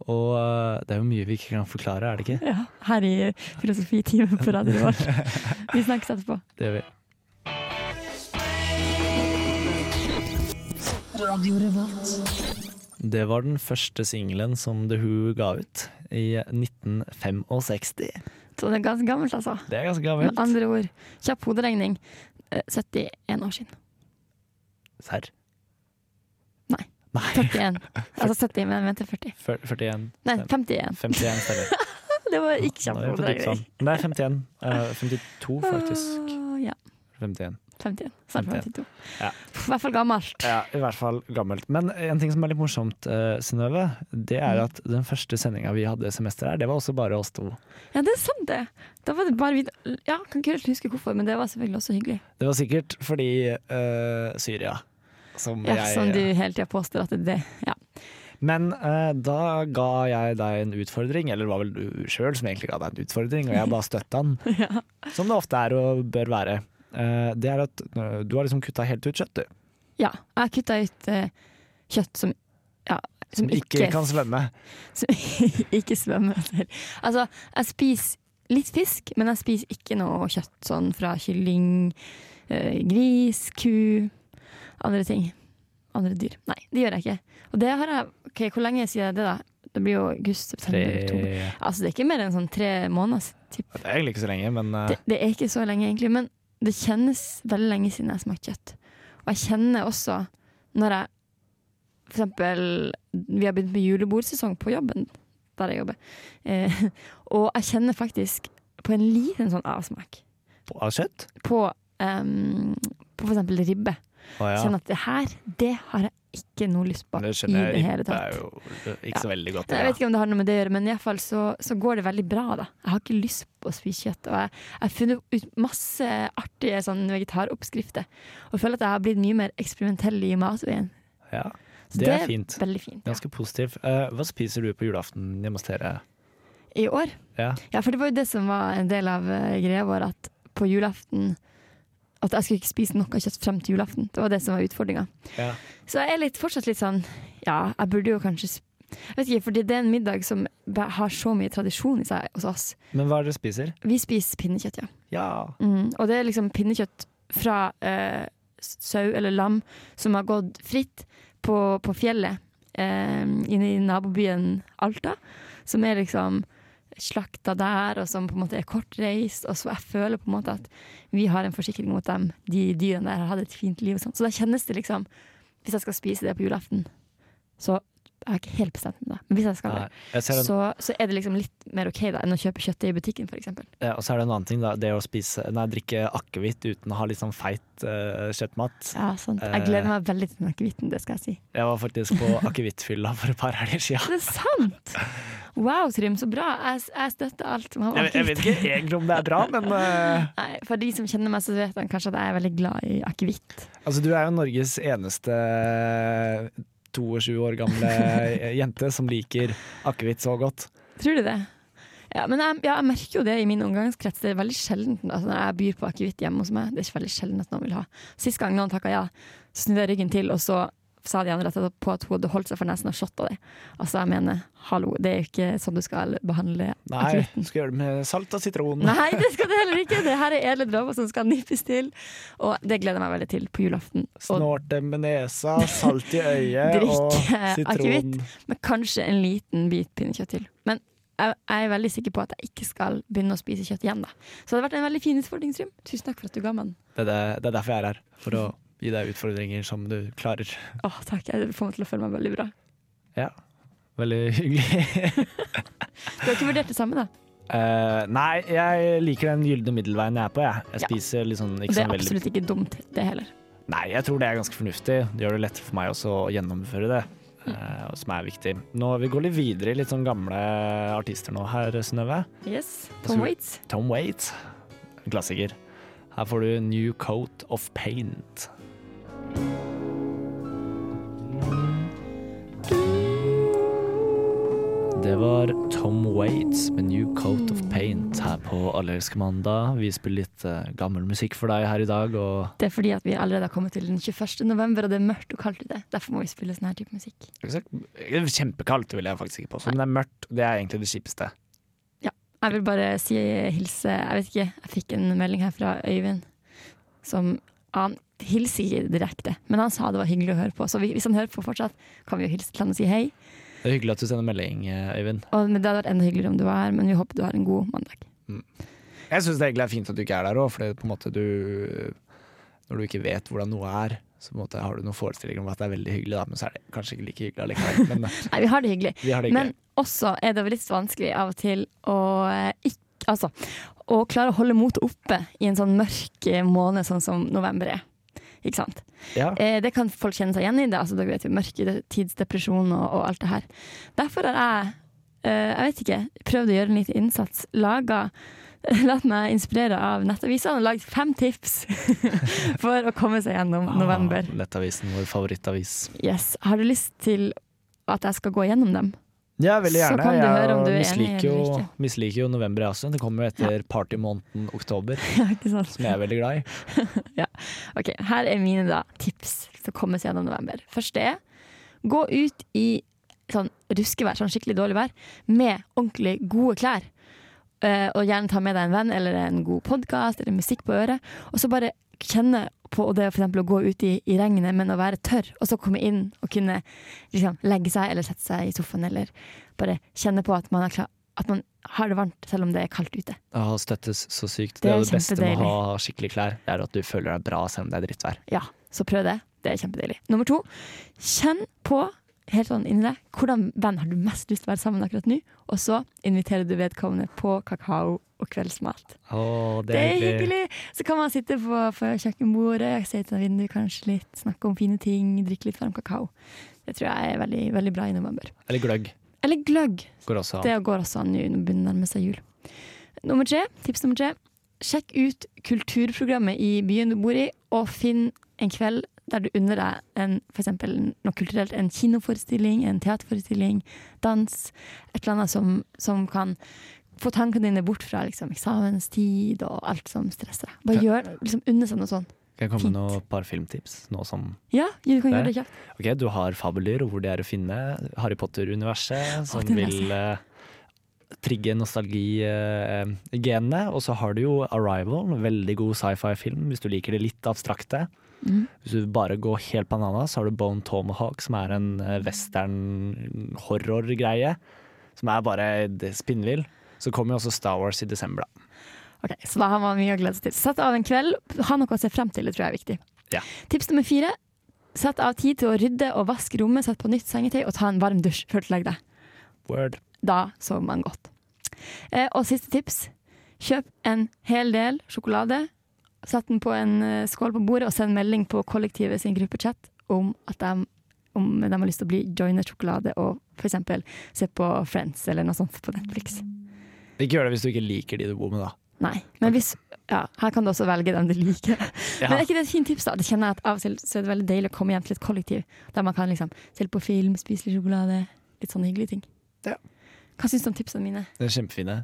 [SPEAKER 4] Og eh, det er jo mye vi ikke kan forklare, er det ikke?
[SPEAKER 3] Ja, her i filosofitimen på Radio
[SPEAKER 4] *laughs*
[SPEAKER 3] Revolt. Vi snakkes etterpå.
[SPEAKER 4] Det gjør vi. Det var den første singelen som The Who ga ut i 1965.
[SPEAKER 3] Så det er ganske gammelt, altså.
[SPEAKER 4] Det er ganske
[SPEAKER 3] Med
[SPEAKER 4] gammelt.
[SPEAKER 3] andre ord, kjapp hoderegning. eh, 71 år siden.
[SPEAKER 4] Serr?
[SPEAKER 3] Nei.
[SPEAKER 4] Nei.
[SPEAKER 3] 41. Altså 70, men vent til 40.
[SPEAKER 4] 41.
[SPEAKER 3] Nei, 51.
[SPEAKER 4] 51 stemmer.
[SPEAKER 3] Det var ikke
[SPEAKER 4] Nå
[SPEAKER 3] kjapp
[SPEAKER 4] er vi på dypt
[SPEAKER 3] hoderegning.
[SPEAKER 4] vann. Nei, 51. Eh, 52, faktisk.
[SPEAKER 3] Ah, Ja,
[SPEAKER 4] 51.
[SPEAKER 3] 51. Snart 52.
[SPEAKER 4] Ja.
[SPEAKER 3] Pff, I hvert fall gammelt.
[SPEAKER 4] Ja, I hvert fall gammelt. Men en ting som er litt morsomt, uh, Synnøve, det er at den første sendinga vi hadde semester her, det var også bare oss to.
[SPEAKER 3] Ja, det er sant, det. Da var det bare vi Ja, kan ikke helt huske hvorfor, men det var selvfølgelig også hyggelig.
[SPEAKER 4] Det var sikkert fordi eh, Syria. Som
[SPEAKER 3] Ja,
[SPEAKER 4] jeg eh,
[SPEAKER 3] som du hele tida påstår at det er det. Ja.
[SPEAKER 4] Men eh, da ga jeg deg en utfordring, eller det var vel du sjøl som egentlig ga deg en utfordring, og jeg bare
[SPEAKER 3] *laughs*
[SPEAKER 4] støtta den. Som det ofte er og bør være. Eh, det er at eh, du har liksom kutta helt ut kjøtt, du.
[SPEAKER 3] Ja, jeg kutta ut eh, kjøtt som, ja, som,
[SPEAKER 4] Som ikke kan svømme.
[SPEAKER 3] som *laughs* ikke svømmer. eller- Altså, jeg spiser litt fisk, men jeg spiser ikke noe kjøtt sånn fra kylling, eh, gris, ku, andre ting. Andre dyr. Nei, det gjør jeg ikke. Og det har jeg Ok, hvor lenge sier jeg det, da? Det blir jo august, september, oktober.
[SPEAKER 4] Det
[SPEAKER 3] Altså, det er ikke mer enn sånn tre måneder. Typ.
[SPEAKER 4] er egentlig ikke så lenge, men eh,
[SPEAKER 3] Det, det er ikke så lenge, egentlig, men det kjennes veldig lenge siden jeg har smakt kjøtt. Og jeg kjenner også når jeg For eksempel, vi har begynt med julebordsesong på jobben der jeg jobber. Eh, *laughs* og jeg kjenner faktisk på en liten sånn avsmak
[SPEAKER 4] av kjøtt?
[SPEAKER 3] på, em, på for eksempel ribbe.
[SPEAKER 4] Å ja.
[SPEAKER 3] Kjenner at det her, det har jeg ikke noe lyst på
[SPEAKER 4] Men det
[SPEAKER 3] i
[SPEAKER 4] skjønner
[SPEAKER 3] det
[SPEAKER 4] jeg.
[SPEAKER 3] hele
[SPEAKER 4] Det
[SPEAKER 3] tatt.
[SPEAKER 4] er jo eh, ikke så veldig godt.
[SPEAKER 3] Jeg vet
[SPEAKER 4] Det,
[SPEAKER 3] ikke om det har noe med det å gjøre, men iallfall så, så går det veldig bra. da Jeg har ikke lyst på å spise kjøtt, og jeg jeg har funnet ut masse artige sånn vegetaroppskrifter. Og føler at jeg har blitt mye mer eksperimentell i matveien.
[SPEAKER 4] da. ja.
[SPEAKER 3] Så
[SPEAKER 4] det er fint.
[SPEAKER 3] veldig fint. Ja.
[SPEAKER 4] Ganske positiv. Eh, hva spiser du på julaften hjemme hos dere?
[SPEAKER 3] I år
[SPEAKER 4] Ja.
[SPEAKER 3] Ja, for det var jo det som var en del av eh, greia vår, at på julaften At jeg skulle ikke spise noe kjøtt frem til julaften. Det var det som var utfordringa.
[SPEAKER 4] Ja.
[SPEAKER 3] Så jeg er litt, fortsatt litt sånn Ja, jeg burde jo kanskje sp- Jeg vet ikke, fordi det er en middag som ba- har så mye tradisjon i seg hos oss.
[SPEAKER 4] Men hva er det dere spiser?
[SPEAKER 3] Vi spiser pinnekjøtt, ja.
[SPEAKER 4] Ja.
[SPEAKER 3] Mm, og det er liksom pinnekjøtt fra eh, sau eller lam som har gått fritt på, på fjellet eh, inne i nabobyen Alta. Som er liksom slakta der, og som på en måte er kortreist. Og så jeg føler på en måte at vi har en forsikring mot dem. De sånn. dyrene der har hatt et fint liv. Og sånt. så da kjennes det liksom Hvis jeg skal spise det på julaften, så jeg har ikke helt bestemt meg, da. Men hvis jeg skal
[SPEAKER 4] Nei,
[SPEAKER 3] det,
[SPEAKER 4] jeg ser en,
[SPEAKER 3] så, så er det liksom litt mer ok da enn å kjøpe kjøttet i butikken, f.eks.
[SPEAKER 4] ja, og så er det en annen ting, da. Det å spise, nei, drikke akevitt uten å ha litt sånn feit eh, kjøttmat.
[SPEAKER 3] Ja, sant. Jeg gleder meg veldig til den akevitten, det skal jeg si.
[SPEAKER 4] Jeg var faktisk
[SPEAKER 3] *laughs*
[SPEAKER 4] på akevittfylla for et par helger siden.
[SPEAKER 3] Det er sant! Wow, Trym, så bra. Jeg, jeg støtter alt. Man
[SPEAKER 4] Jeg, jeg vet ikke egentlig om det er bra, men eh,
[SPEAKER 3] Nei, for de som kjenner meg, så vet han kanskje at jeg er veldig glad i akevitt.
[SPEAKER 4] altså, du er jo Norges eneste 22 år gamle eh, jente som liker akevitt så godt.
[SPEAKER 3] Tror du det? Ja, men jeg, ja, jeg merker jo det i min omgangskrets. Det er veldig sjelden altså, når jeg byr på akevitt hjemme hos meg. Det er ikke veldig sjelden at noen vil ha. Sist gang noen takka ja, så snudde jeg ryggen til, og så sa de andre etterpå på at hun hadde holdt seg for nesen og shotta det. Altså, jeg mener, hallo, det er jo ikke sånn du skal behandle
[SPEAKER 4] Nei,
[SPEAKER 3] akevitten.
[SPEAKER 4] du skal gjøre det med salt og sitron.
[SPEAKER 3] Nei, det skal det heller ikke! Det her er edle dråper som skal nippes til. Og det gleder jeg meg veldig til på julaften. Og
[SPEAKER 4] Snorte med nesa, salt i øyet og
[SPEAKER 3] drikke akevitt.
[SPEAKER 4] sitron.
[SPEAKER 3] Men kanskje en liten bit pinnekjøtt til. Men jeg, jeg er veldig sikker på at jeg ikke skal begynne å spise kjøtt igjen. da Så det hadde vært en veldig fin utfordring, Trym. Tusen takk for at du ga meg den.
[SPEAKER 4] Det er, det- det er derfor jeg er her, for å gi deg utfordringer som du klarer.
[SPEAKER 3] Åh, takk, jeg får meg til å føle meg veldig bra.
[SPEAKER 4] Ja, veldig hyggelig.
[SPEAKER 3] Du har ikke vurdert det samme, da?
[SPEAKER 4] *laughs* Eh, nei, jeg liker den gylne middelveien jeg er på, jeg. Jeg
[SPEAKER 3] Ja.
[SPEAKER 4] spiser litt sånn
[SPEAKER 3] Og
[SPEAKER 4] ikke
[SPEAKER 3] det
[SPEAKER 4] sånn
[SPEAKER 3] er
[SPEAKER 4] veldig
[SPEAKER 3] absolutt ikke dumt, det heller.
[SPEAKER 4] Nei, jeg tror det er ganske fornuftig. Det gjør det lettere for meg også å gjennomføre det.
[SPEAKER 3] Mm.
[SPEAKER 4] eh, som er viktig. Nå, Vi går litt videre i litt sånn gamle artister nå her, Synnøve.
[SPEAKER 3] Yes.
[SPEAKER 4] Skal
[SPEAKER 3] Tom
[SPEAKER 4] vi-
[SPEAKER 3] Waits.
[SPEAKER 4] Tom Waits, en klassiker. Her får du New Coat of Paint. Det var Tom Waits med New Coat of Paint her på Allelske mandag. Vi spiller litt eh, gammel musikk for deg her i dag, og
[SPEAKER 3] Det er fordi at vi allerede har kommet til den 21. november, og det er mørkt og kaldt ute. Derfor må vi spille sånn her type musikk.
[SPEAKER 4] Kjempekaldt vil jeg faktisk ikke påstå, men det er mørkt. Det er egentlig det kjipeste.
[SPEAKER 3] Jeg vil bare si hilse Jeg vet ikke, jeg fikk en melding her fra Øyvind som Han hilser ikke direkte, men han sa det var hyggelig å høre på. Så vi- hvis han hører på fortsatt, kan vi jo hilse til han og si hei.
[SPEAKER 4] Det er hyggelig at du sender melding, eh, Øyvind.
[SPEAKER 3] Og, men det hadde vært enda hyggeligere om du var her, men vi håper du har en god mandag.
[SPEAKER 4] Jeg syns egentlig det er fint at du ikke er der òg, for det er på en måte du Når du ikke vet hvordan noe er, så på en måte har du noen forestillinger om at det er veldig hyggelig, da, men så er det kanskje ikke like hyggelig
[SPEAKER 3] *laughs*
[SPEAKER 4] allikevel. Men eh,
[SPEAKER 3] Nei, vi har det hyggelig.
[SPEAKER 4] vi har det hyggelig.
[SPEAKER 3] Men også er det vel litt vanskelig av og til å eh, ikke Altså, å klare å holde motet oppe i en sånn mørk eh, måned sånn som november er. Ikke sant?
[SPEAKER 4] ja.
[SPEAKER 3] Eh, det kan folk kjenne seg igjen i. Det, altså, dere vet jo Mørketidsdepresjon og, og alt det her. Derfor har jeg, eh, jeg vet ikke, prøvd å gjøre en liten innsats. Laga *laughs* Latt meg inspirere av nettavisene og lagd fem tips *laughs* for å komme seg gjennom november.
[SPEAKER 4] Ah, Nettavisen, vår favorittavis.
[SPEAKER 3] Yes. Har du lyst til at jeg skal gå gjennom dem?
[SPEAKER 4] Ja, veldig
[SPEAKER 3] Så
[SPEAKER 4] gjerne.
[SPEAKER 3] kan du høre om du er
[SPEAKER 4] jeg
[SPEAKER 3] enig
[SPEAKER 4] misliker jo,
[SPEAKER 3] eller ikke.
[SPEAKER 4] misliker jo november, jeg også. Det kommer jo etter partymåneden oktober,
[SPEAKER 3] Ja, ikke sant?
[SPEAKER 4] som jeg er veldig glad i.
[SPEAKER 3] Ok, Her er mine da tips til å komme seg gjennom november. Første er gå ut i sånn ruskevær, sånn skikkelig dårlig vær, med ordentlig gode klær. Eh, og gjerne ta med deg en venn eller en god podkast eller musikk på øret. Og så bare kjenne på det for eksempel å gå ut i, i regnet, men å være tørr. Og så komme inn og kunne liksom, legge seg eller sette seg i sofaen eller bare kjenne på at man, er klar, at man har det varmt selv om det er kaldt ute.
[SPEAKER 4] Å støttes så sykt.
[SPEAKER 3] Det er
[SPEAKER 4] Det er det beste med
[SPEAKER 3] kjempedeilig.
[SPEAKER 4] å ha skikkelige klær, det er at du føler deg bra selv om det er drittvær.
[SPEAKER 3] Ja, så prøv det. Det er kjempedeilig. Nummer to, kjenn på helt sånn inni deg hvordan venn har du mest lyst til å være sammen med akkurat nå. Og så inviterer du vedkommende på kakao og kveldsmat.
[SPEAKER 4] Å,
[SPEAKER 3] Det er hyggelig! Så kan man sitte på, på kjøkkenbordet, se ut av vinduet kanskje litt, snakke om fine ting, drikke litt varm kakao. Det tror jeg er veldig, veldig bra i november.
[SPEAKER 4] Eller gløgg
[SPEAKER 3] Eller gløgg.
[SPEAKER 4] går også an.
[SPEAKER 3] Det går også an nå når det begynner å nærme seg jul. Nummer tre, tips nummer tre. Sjekk ut kulturprogrammet i byen du bor i, og finn en kveld der du unner deg en, for eksempel noe kulturelt. En kinoforestilling, en teaterforestilling, dans. Et eller annet som, som kan få tankene dine bort fra liksom, eksamenstid og alt som stresser deg. Bare gjør, liksom unne seg noe sånt.
[SPEAKER 4] Kan jeg komme med
[SPEAKER 3] Fint.
[SPEAKER 4] noen par filmtips nå som
[SPEAKER 3] Ja, du kan
[SPEAKER 4] Der.
[SPEAKER 3] gjøre det kjapt.
[SPEAKER 4] Ok, du har fabuler og hvor de er å finne. Harry
[SPEAKER 3] *gasps*
[SPEAKER 4] Potter-universet som
[SPEAKER 3] det vil jeg
[SPEAKER 4] vil eh, trigge nostalgigenene. og så har du jo Arrival, en veldig god sci-fi-film hvis du liker det litt abstrakte.
[SPEAKER 3] Mm.
[SPEAKER 4] Hvis du bare går helt banana, så har du Bone Tomahawk, som er en eh, western-horror-greie. Som er bare det spinnvill. Så kommer jo også Star Wars i desember, da.
[SPEAKER 3] Ok, Så da har man mye å glede seg til. Sett av en kveld. Ha noe å se frem til, det tror jeg er viktig.
[SPEAKER 4] Ja.
[SPEAKER 3] Tips nummer fire. Sett av tid til å rydde og vaske rommet, sett på nytt sengetøy og ta en varm dusj før du legger deg.
[SPEAKER 4] Word.
[SPEAKER 3] Da sover man godt. Eh, og siste tips. Kjøp en hel del sjokolade, sett den på en eh, skål på bordet og send melding på kollektivet sin gruppechat om at de, om de har lyst til å bli joinet sjokolade og f.eks. se på Friends eller noe sånt på Netflix.
[SPEAKER 4] Ikke gjør det hvis du ikke liker de du bor med, da.
[SPEAKER 3] Nei, men hvis, ja, her kan du også velge dem du liker.
[SPEAKER 4] *laughs* Ja.
[SPEAKER 3] Men er ikke det et fint tips, da? Det kjenner jeg at Av og til så er det veldig deilig å komme hjem til et kollektiv der man kan liksom se på film, spise litt sjokolade, litt sånne hyggelige ting.
[SPEAKER 4] Ja. Mm,
[SPEAKER 3] Hva syns du om tipsene mine?
[SPEAKER 4] Det er kjempefine.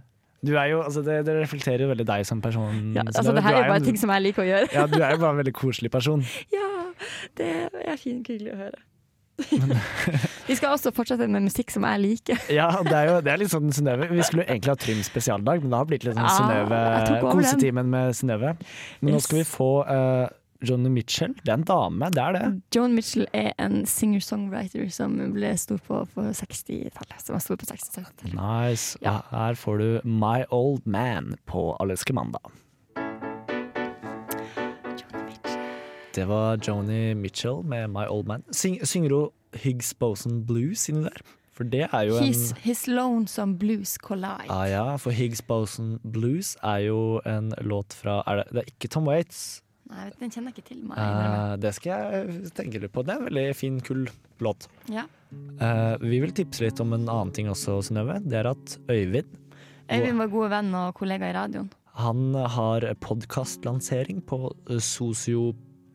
[SPEAKER 4] Du er jo, altså det, det reflekterer jo veldig deg som person.
[SPEAKER 3] Ja, altså,
[SPEAKER 4] Synnøve.
[SPEAKER 3] det her
[SPEAKER 4] Du
[SPEAKER 3] er jo bare
[SPEAKER 4] en-
[SPEAKER 3] ting som jeg liker å gjøre.
[SPEAKER 4] Ja, du er jo bare en veldig koselig person.
[SPEAKER 3] *laughs* Ja, det er fint hyggelig å høre. *laughs* Vi skal også fortsette med musikk som jeg liker.
[SPEAKER 4] Ja, det er jo det er litt sånn Synnøve. Vi skulle jo egentlig ha Trym spesialdag, men det har blitt litt sånn
[SPEAKER 3] Ah, jeg
[SPEAKER 4] Synnøve
[SPEAKER 3] tok over den.
[SPEAKER 4] kosetimen med Synnøve. Men nå
[SPEAKER 3] Yes.
[SPEAKER 4] skal vi få eh, Johnny Mitchell. Det er en dame, det er det.
[SPEAKER 3] Joan Mitchell er en singer-songwriter som ble stor på, på 60-tallet. Som var stor på 60-tallet.
[SPEAKER 4] Nice.
[SPEAKER 3] Ja.
[SPEAKER 4] Og Her får du My Old Man på Alleske mandag.
[SPEAKER 3] Joan Mitchell.
[SPEAKER 4] Det var Joni Mitchell med My Old Man. Syng, synger hun Higgs Boson Blues inni der? For det er jo en
[SPEAKER 3] His, his Lonesome Blues Collide.
[SPEAKER 4] Ah, ja, for Higgs Boson Blues er jo en låt fra er det, det er ikke Tom Waits.
[SPEAKER 3] Nei, vet du, den kjenner jeg ikke til meg. innrømmer jeg.
[SPEAKER 4] Eh, det skal jeg tenke litt på. Det er en veldig fin, kul låt.
[SPEAKER 3] Ja.
[SPEAKER 4] Eh, vi vil tipse litt om en annen ting også, Synnøve. Det er at Øyvind
[SPEAKER 3] Øyvind var god venn og kollega i radioen.
[SPEAKER 4] han har podkastlansering på eh, sosio...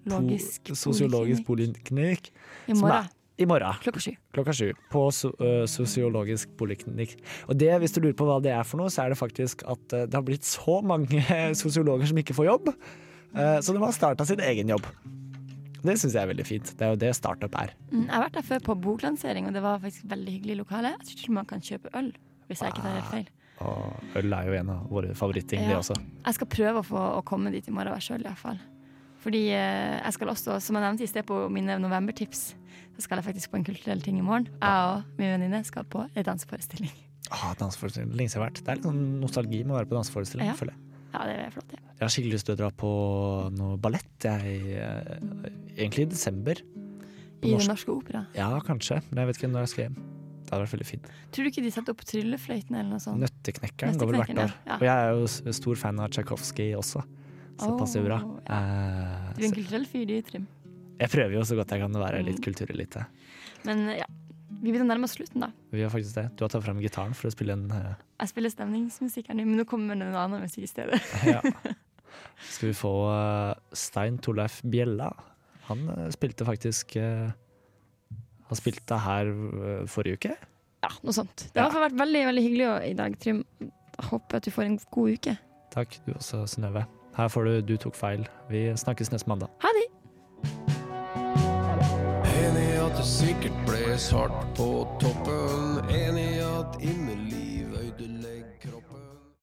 [SPEAKER 3] Logisk
[SPEAKER 4] po, sosiologisk poliklinikk
[SPEAKER 3] I
[SPEAKER 4] som
[SPEAKER 3] morgen
[SPEAKER 4] er i morgen
[SPEAKER 3] klokka sju.
[SPEAKER 4] klokka sju på so ø, sosiologisk poliklinikk. Og det, hvis du lurer på hva det er for noe, så er det faktisk at ø, det har blitt så mange *laughs* sosiologer som ikke får jobb, ø, så de har starta sin egen jobb. Det syns jeg er veldig fint. Det er jo det startup er.
[SPEAKER 3] Mm, Jeg har vært der før på boklansering, og det var faktisk veldig hyggelig lokale. Jeg tror til og med man kan kjøpe øl, hvis jeg ikke tar
[SPEAKER 4] Ah,
[SPEAKER 3] helt feil.
[SPEAKER 4] Og øl er jo en av våre favoritting, det
[SPEAKER 3] Ja.
[SPEAKER 4] også.
[SPEAKER 3] Jeg skal prøve å få å komme dit i morgen hver sjøl, iallfall. Fordi eh, jeg skal også, som jeg nevnte i sted på mine novembertips, så skal jeg faktisk på en kulturell ting i morgen. Jeg og min venninne skal på en danseforestilling. *laughs*
[SPEAKER 4] Ah, danseforestilling. Lenge siden jeg har vært. Det er litt sånn nostalgi med å være på danseforestilling.
[SPEAKER 3] Ja.
[SPEAKER 4] føler jeg.
[SPEAKER 3] Ja, det er flott. Ja.
[SPEAKER 4] Jeg har skikkelig lyst til å dra på noe ballett, jeg. ø, Egentlig i desember. På
[SPEAKER 3] I
[SPEAKER 4] norsk.
[SPEAKER 3] Den norske opera.
[SPEAKER 4] Ja, kanskje. Men jeg vet ikke når jeg skal hjem. Det hadde vært veldig fint.
[SPEAKER 3] Tror du ikke de setter opp tryllefløyten eller noe sånt?
[SPEAKER 4] Nøtteknekkeren går vel hvert år.
[SPEAKER 3] Nøtteknekkeren, ja.
[SPEAKER 4] Og jeg er jo s- stor fan av Tsjajkovskij også, så det
[SPEAKER 3] Åh,
[SPEAKER 4] passer jo bra.
[SPEAKER 3] ja.
[SPEAKER 4] Eh,
[SPEAKER 3] Du er en Mm.
[SPEAKER 4] så
[SPEAKER 3] kulturell fyr, du, Trym.
[SPEAKER 4] jeg prøver jo så godt jeg kan å være litt kulturelite.
[SPEAKER 3] Men ja, vi begynner å nærme oss slutten, da.
[SPEAKER 4] Vi har faktisk det. Du har tatt fram gitaren for å spille en eh,
[SPEAKER 3] Jeg spiller stemningsmusikk her nå, men nå kommer det noe annen musikk i stedet.
[SPEAKER 4] ja. Skal vi få eh, Stein Torleif Bjella? Han eh, spilte faktisk eh, Han spilte her eh, forrige uke.
[SPEAKER 3] Ja, noe sånt. Det har i hvert fall vært veldig veldig hyggelig å- i dag, Trym. Jeg Håper at du får en god uke.
[SPEAKER 4] Takk, du også, Synnøve. Her får du 'Du tok feil'. Vi snakkes neste mandag.
[SPEAKER 3] Ha det!
[SPEAKER 5] Enig i at det sikkert ble svart på toppen. Enig